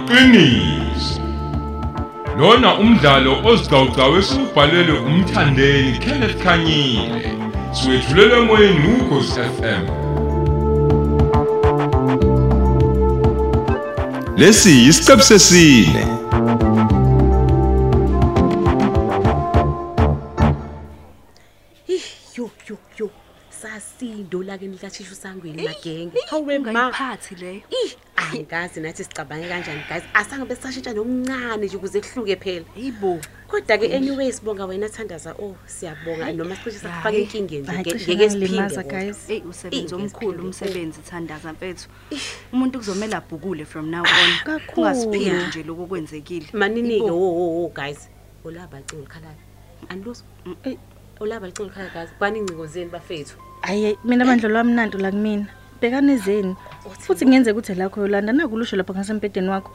liqiniso lona umdlalo ozigcawugcawe siubhalelwe umthandeni kenneth khanyile siwethulelwe emoyeni ukhosi fm Lesi isiqebu sesine. yo yo yo sasindola ke nikathisha usangweni magenge Hawe ma ngiphathi leyo. i angazi nathi sicabange kanjani guys asangabe sashintsha nomncane nje ukuze kuhluke phela Yibo. kodwa ke anyway sibonga wena Thandaza oh siyabonga noma sicishe sakufaka Hhayi, inkingeni nje Hayi, ngeke- cishe ngeke ngalimaza, siphinde guys. Ey usebenza Ey, ngesiphelo. omkhulu umsebenzi Thandaza mfethu. Umuntu kuzomela abhukule from now on. Kakhulu. Kungasiphindi nje lokho kwenzekile. maninike wo wo wo guys olaba icingo likhala andilozo Eyi. olaba icingo likhala guys bani ingcingo zeni bafethu Hayi mina bandla lwamnandi la kumina. Bekane zeni. Futhi ngiyenzeka ukuthi lakho yolanda nakulusho lapha ngasempedeni wakho.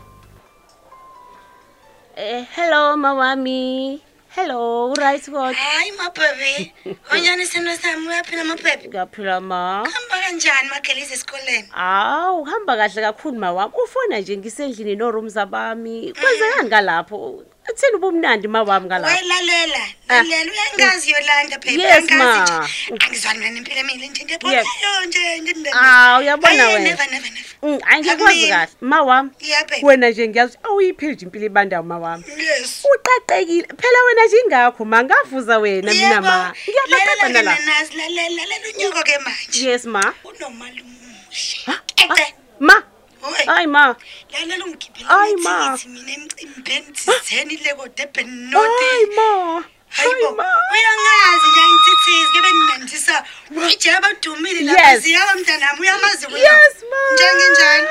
eh hello mawami hello right watch hayi mabhebe onjani sithando sami uyaphila mabhebe ngiyaphila ma hamba kanjani magelize esikoleni Aw, uhamba kahle kakhulu mawami. Ufona nje ngisendlini norooms Mm. abami. Kwenzekani kalapho? Athini ubumnandi mawami kalapho? welalela lalela uyangazi yolanda phebe Yes, ma. uyangazi nje angizwani mina nempilo emile nje ndiyabonaleyo nje ndindebe Ah, uyabona wena. never never never Mm, Hayi ngikwazi Akumina. kahle. Mawami. Yeah, babe. Wena nje ngiyazi awuyipheli nje impilo ibandayo mawami. yes Uqaqekile. Phela wena nje ingakho ma ngavuza wena mina ma. lalela Ngiyabaqeda la. nanazi lalela lalela unyoko ke manje Yes ma. unomalumushi Ah, ece Ma. Hoi. Hayi ma. lalela ungikhiphele Ayi, ah. ma. amathikithi mina emcimbeni thizeni lekodebheni Hayi notini ma. hayibo Hayi ma. uyangazi nje angithithizi ke benginandisa ije abadumile Yes. laphaziyaba mntanami uyamazi kuya Yes ma. njengenjani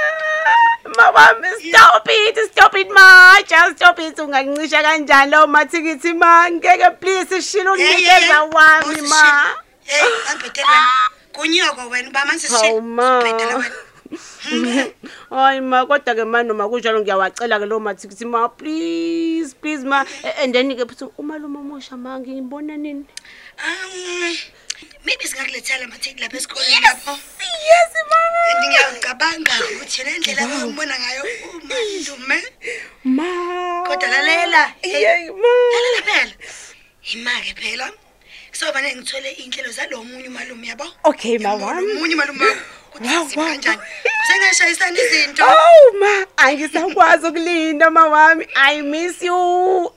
Mama, stop it, stop it ma. Just stop it ungangicisha kanjani lawo mathikithi ma. Ngeke please shilo unikeza wami ma. hey ambhetele wena kunyoko wena uba manje Hawu ma. sibhetele wena Hayi ma kodwa ke ma noma kunjalo ngiyawacela ke lawo mathikithi ma please please ma A- and then ke futhi umalume omusha ma ngibona nini? Um, maybe singakulethela amatheki lapha esikoleni lapho Yes ma. and ngiyacabanga ukuthi yena indlela abambona ngayo umandume Ma. kodwa lalela hey Yey ma. lalela phela imake phela kusoba nengithole iy'nhlelo zalo munye umalume yabo Okay ma wami. omunye malume Wow, wow. kanjani sengashayisana izinto Oh ma, angisakwazi ukulinda ma wami. I miss you.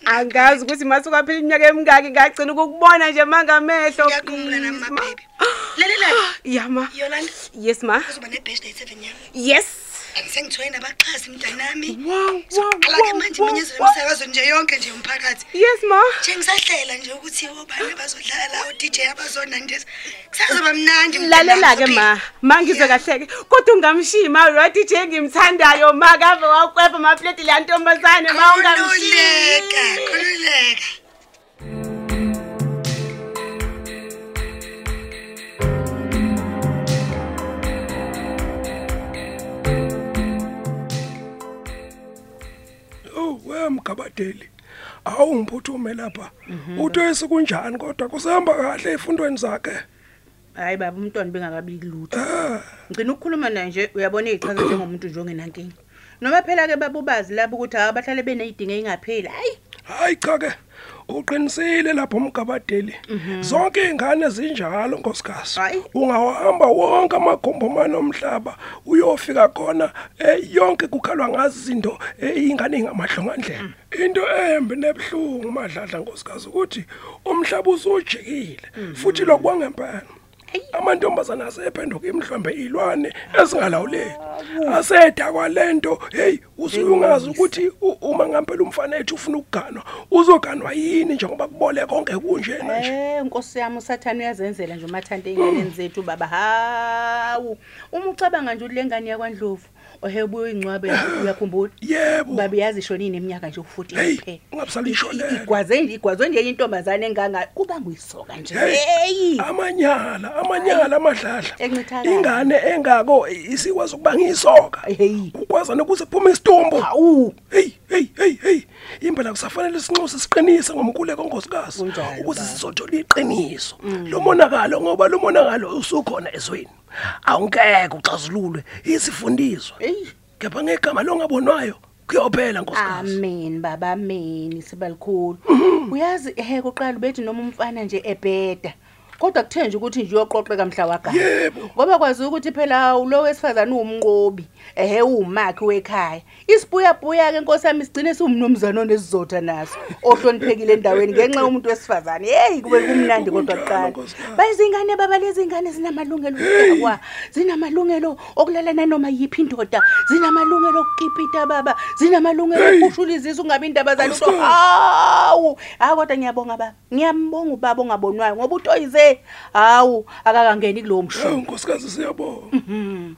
Angazi ukuthi masuka phela iminyaka emingaki ngagcina ukukubona nje mangamehlo. ngiyakhumbula nami mabhebi lalela Yeah ma. yolanda Yes ma. kuzoba nebheshday seven yami Yes. sengithoye nabaxhasi mntanami Wow, wow, alake wow, manje wow, iminyezelo wow. emsakazweni nje yonke nje yomphakathi Yes ma. njengisahlela nje ukuthi obani abazodlala odj abazonandisa kusazoba mnandi mntanami, Lalela ke ma. Mangizwe kahleke. Kodwa ungamshiyi ma lo DJ ngimthandayo ma kave waqwepa amapleti la ntombazane ma khululeka ungamshiyi. khululeka Oh, we mgabadeli. Awungiphuthume lapha. Utoyise kunjani kodwa kusehamba kahle efundweni zakhe. hayi baba umntwana bengakabili lutho Eh, ngicina ukukhuluma naye nje uyabona ichaza njengomuntu nje ongenankinga noma phela-ke baba ubazi lapho ukuthi hawa bahlale beney'dingo ey'ngapheli hhayi hayi cha ke. Uqinisile lapho mgabadeli. Zonke izingane zinjalo ngosikazi. Hayi. Ungawahamba wonke amagombomane omhlaba uyofika khona eh, yonke kukhalwa ngazi izinto eh, izingane ingamahlongandlela. Mm. Into embi nebhlungu madladla ngosikazi ukuthi umhlaba usujikile Mm. futhi lokwangempela. amantombazana asephenduka imhlombe ilwane Ah, esingalawuleki aseda kwalento hey usuyungazi ukuthi u- uma ngampela umfana ethu ufuna ukuganwa uzoganwa yini njengoba kubole konke kunjena nje Eh nkosi yami usathane uyazenzela nje umathanda ey'nganeni zethu baba hawu uma ucabanga nje ule ngane yakwandlovu ohe ubuye ingcwabe uyakhumbula yebo baba yazi shonini iminyaka nje u-fourteen Hey, kuphela ungabusaliyisho I- i- lelo. igwaze nje igwazwe nje intombazane enganga kuba nguyisoka nje Hey, eyi amanyala amanyala amadladla Encithakala. ingane engako isikwazi ukuba ngiyisoka Hey. ukwazi nokuthi phume isitumbu hawu hey hey hey hey impela kusafanele sinxuse siqinise ngomkuleko ngosikazi Kunjalo, ukuze baba. Mm. sizothola iqiniso lo monakalo ngoba lo monakalo usukhona ezweni awungeke uxazululwe izifundiswa eyi kepha ngegama longabonwayo kuyophela nkosikazi amen baba amen sebalikhulu uyazi ehe kuqala bethi noma umfana nje ebheda kodwa kuthenje ukuthi nje uyoqoqeka mhla wagana Yebo. ngoba kwaziwa ukuthi phela lo wesifazane uwumnqobi ehe uwumakhi wekhaya isibuyabuya-ke nkosi yami sigcine siwumnumzane onesizotha naso ohloniphekile endaweni ngenxa yomuntu wesifazane yeyi kube kumnandi kodwa kunjalo, kuqala nkosikazi. bayizingane baba lezi ngane zinamalungelo okudakwa zinamalungelo okulala nanoma yiphi indoda zinamalungelo okukipita baba zinamalungelo okushula izizwe ungabi indaba zalutho Nkosikazi. hawu hawu kodwa ngiyabonga baba ngiyambonga ubaba ongabonwayo ngoba utoyize hawu akakangeni kulowo mshu hawu nkosikazi siyabona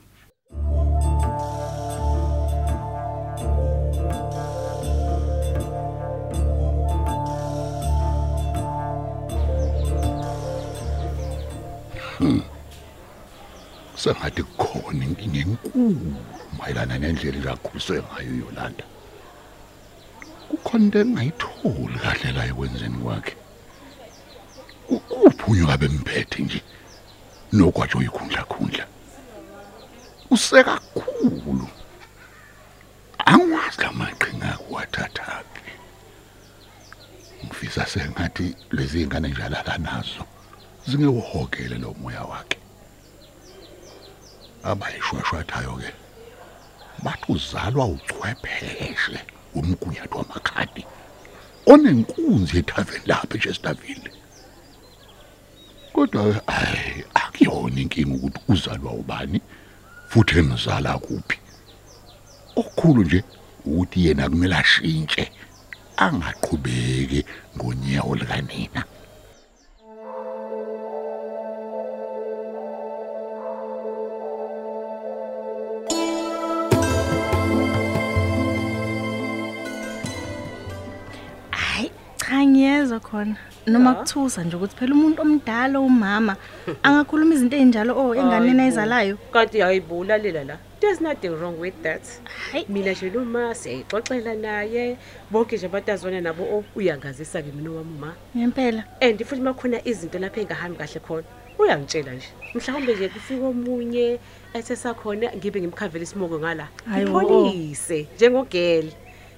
sengathi kukhona inkinga enkulu mayelana nendlela izakhuliswe ngayo yolanda kukhona into engayitholi kahle la ekwenzeni kwakhe ukuphi unye kabemphethe nje nokwatsho ikhundlakhundla usekakhulu angiwazi la maqhinga akuwathathaphi ngifisa sengathi lezi ngane njalo akanazo zingewuhogele lo moya wakhe abayishwashwathayo ke bathi uzalwa uchwepheshe umgunyathi wamakhadi onenkunzi ethaveni lapha echesterville kodwa hayi akuyona inkinga ukuthi uzalwa ubani futhi emzala kuphi okukhulu nje ukuthi yena kumele ashintshe angaqhubeki ngonyawo likanina hayi cha ngiyezwa khona noma kuthusa nje ukuthi phela umuntu omdala umama angakhuluma izinto ey'njalo oh, o enganeni ayizalayo kodwa uyayibuula lela la there's nothing wrong with that hayi mina nje noma siyayixoxela naye bonke nje abantu azwana nabo o uyangazisa-ke mina wami uma ngempela and futhi uma khona izinto lapho ey'ngahambi kahle khona uyangitshela nje mhlawumbe nje kufika omunye ethe sakhona ngibe ngimkhavela isimoko ngala Hhayi, wo. ngipholise njengogele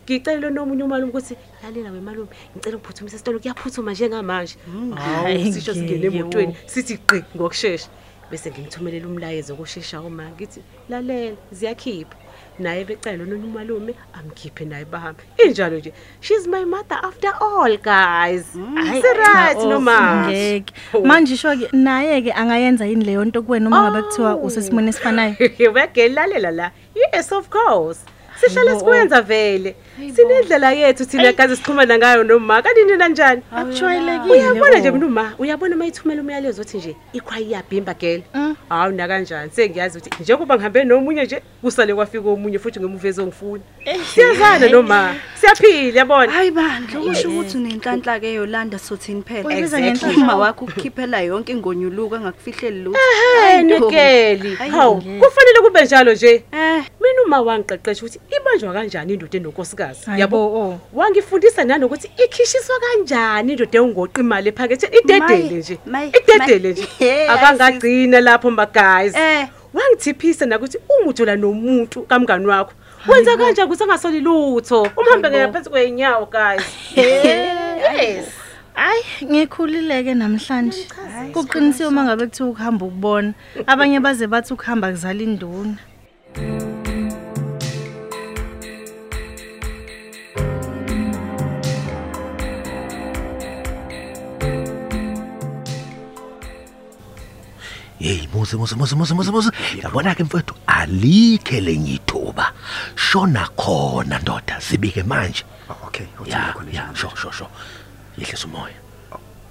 ngicele nomunye umalume ukuthi lalela wemalume ngicela ukuphuthumise isitolo kuyaphuthuma njengamanje hawu Hhayi, sisho Hmm. ngeke, singene emotweni wo. sithi gqi ngokushesha bese ngimthumelela umlayezo okushesha uma ngithi lalela ziyakhipha naye becela lononye umalume amkhiphe naye bahambe injalo nje she's my mother after all guys Cha, si-right Hmm. oh, noma ngeke Oh. manje sho-ke naye-ke angayenza yini leyo nto kuwe noma ngabe kuthiwa Oh. usesimweni esifanayo wegelalela la yes of course sihlale bo. sikwenza vele sinendlela yethu thina kaze siqhumana ngayo noma kanti nina njani uyabona nje mina akujwayelekile uma uyabona uma ithumela umyalezo othi nje ikhwayi iyabhimba gela Mm. hawu nakanjani sengiyazi ukuthi njengoba ngihambe nomunye nje kusale kwafika omunye futhi ngemuva ezongifuna Eh. siyazana noma siyaphila yabona hayi bandla usho ukuthi unenhlanhla-ke yolanda sothini phela Uyibiza Exactly. ngenhlanhla. uma wakho ukukhiphela yonke ingonyuluko angakafihleli Hey, nikeli hawu kufanele kube njalo nje Eh. mina uma wangiqeqesha ukuthi ibanjwa kanjani indoda enonkosikazi Hayi yabo bo, oh. wangifundisa nanokuthi ikhishiswa kanjani indoda engoqa imali ephaketheni idedele Maye, nje maye, idedele maye. nje Hey, akangagcina lapho magazi Eh. wangithiphisa nakuthi uma ujola nomuntu kamngani wakho wenza kanje ukuthi angasoli lutho umhambe ngaphansi kwey'nyawo guys yes hayi ngikhulile-ke namhlanje kuqinisiwe uma ngabe kuthiwa ukuhamba ukubona abanye baze bathi ukuhamba kuzala induna Hey muzi muzi muzi muzi muzi muzi yabona ke mfethu alikhe lenyithuba shona khona ndoda sibike manje Oh, okay ya ya sho sure. sho sho yehlisa umoya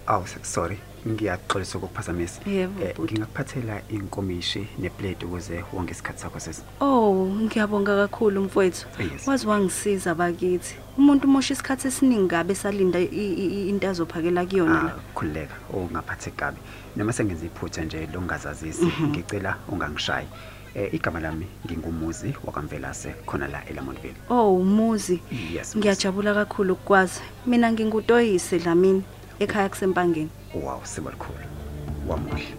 aw Oh, sorry ngiyaxolisa ukukuphazamisa Yebo, Eh, bhuti. ngingakuphathela inkomishi neplate ukuze wonke isikhathi sakho sesi Oh, ngiyabonga kakhulu mfowethu. Yes. Wazi wangisiza bakithi. Umuntu umosha isikhathi esiningi kabe salinda i- i- i- into azophakela kuyona Ah, la. khululeka ungaphatheki kabi noma sengenza iphutha nje lokungazazisi Mhm. ngicela ungangishayi um igama lami ngingumuzi wakamvelase khona la elamontville Oh, umuzi. Yes, Muzi. Ngiyajabula kakhulu ukwazi. Mina ngingutoyise Dlamini ekhaya kusempangeni. wow siba likhulu wamuhle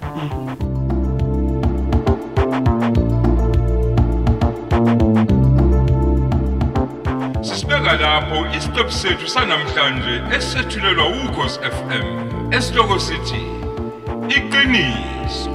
Kusukela lapho isiqephu sethu sanamhlanje esethulelwa ukhosi FM. Esihloko sithi iqiniso